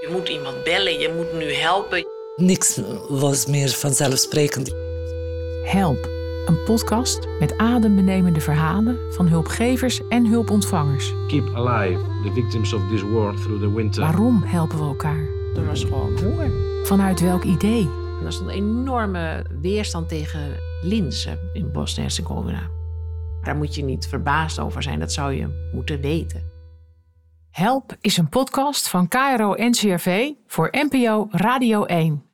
Je moet iemand bellen, je moet nu helpen. Niks was meer vanzelfsprekend. Help, een podcast met adembenemende verhalen van hulpgevers en hulpontvangers. Keep alive the victims of this war through the winter. Waarom helpen we elkaar? Er was gewoon honger. Vanuit welk idee? En er stond een enorme weerstand tegen linzen in Bosnië-Herzegovina. Daar moet je niet verbaasd over zijn, dat zou je moeten weten. Help is een podcast van KRO NCRV voor NPO Radio 1.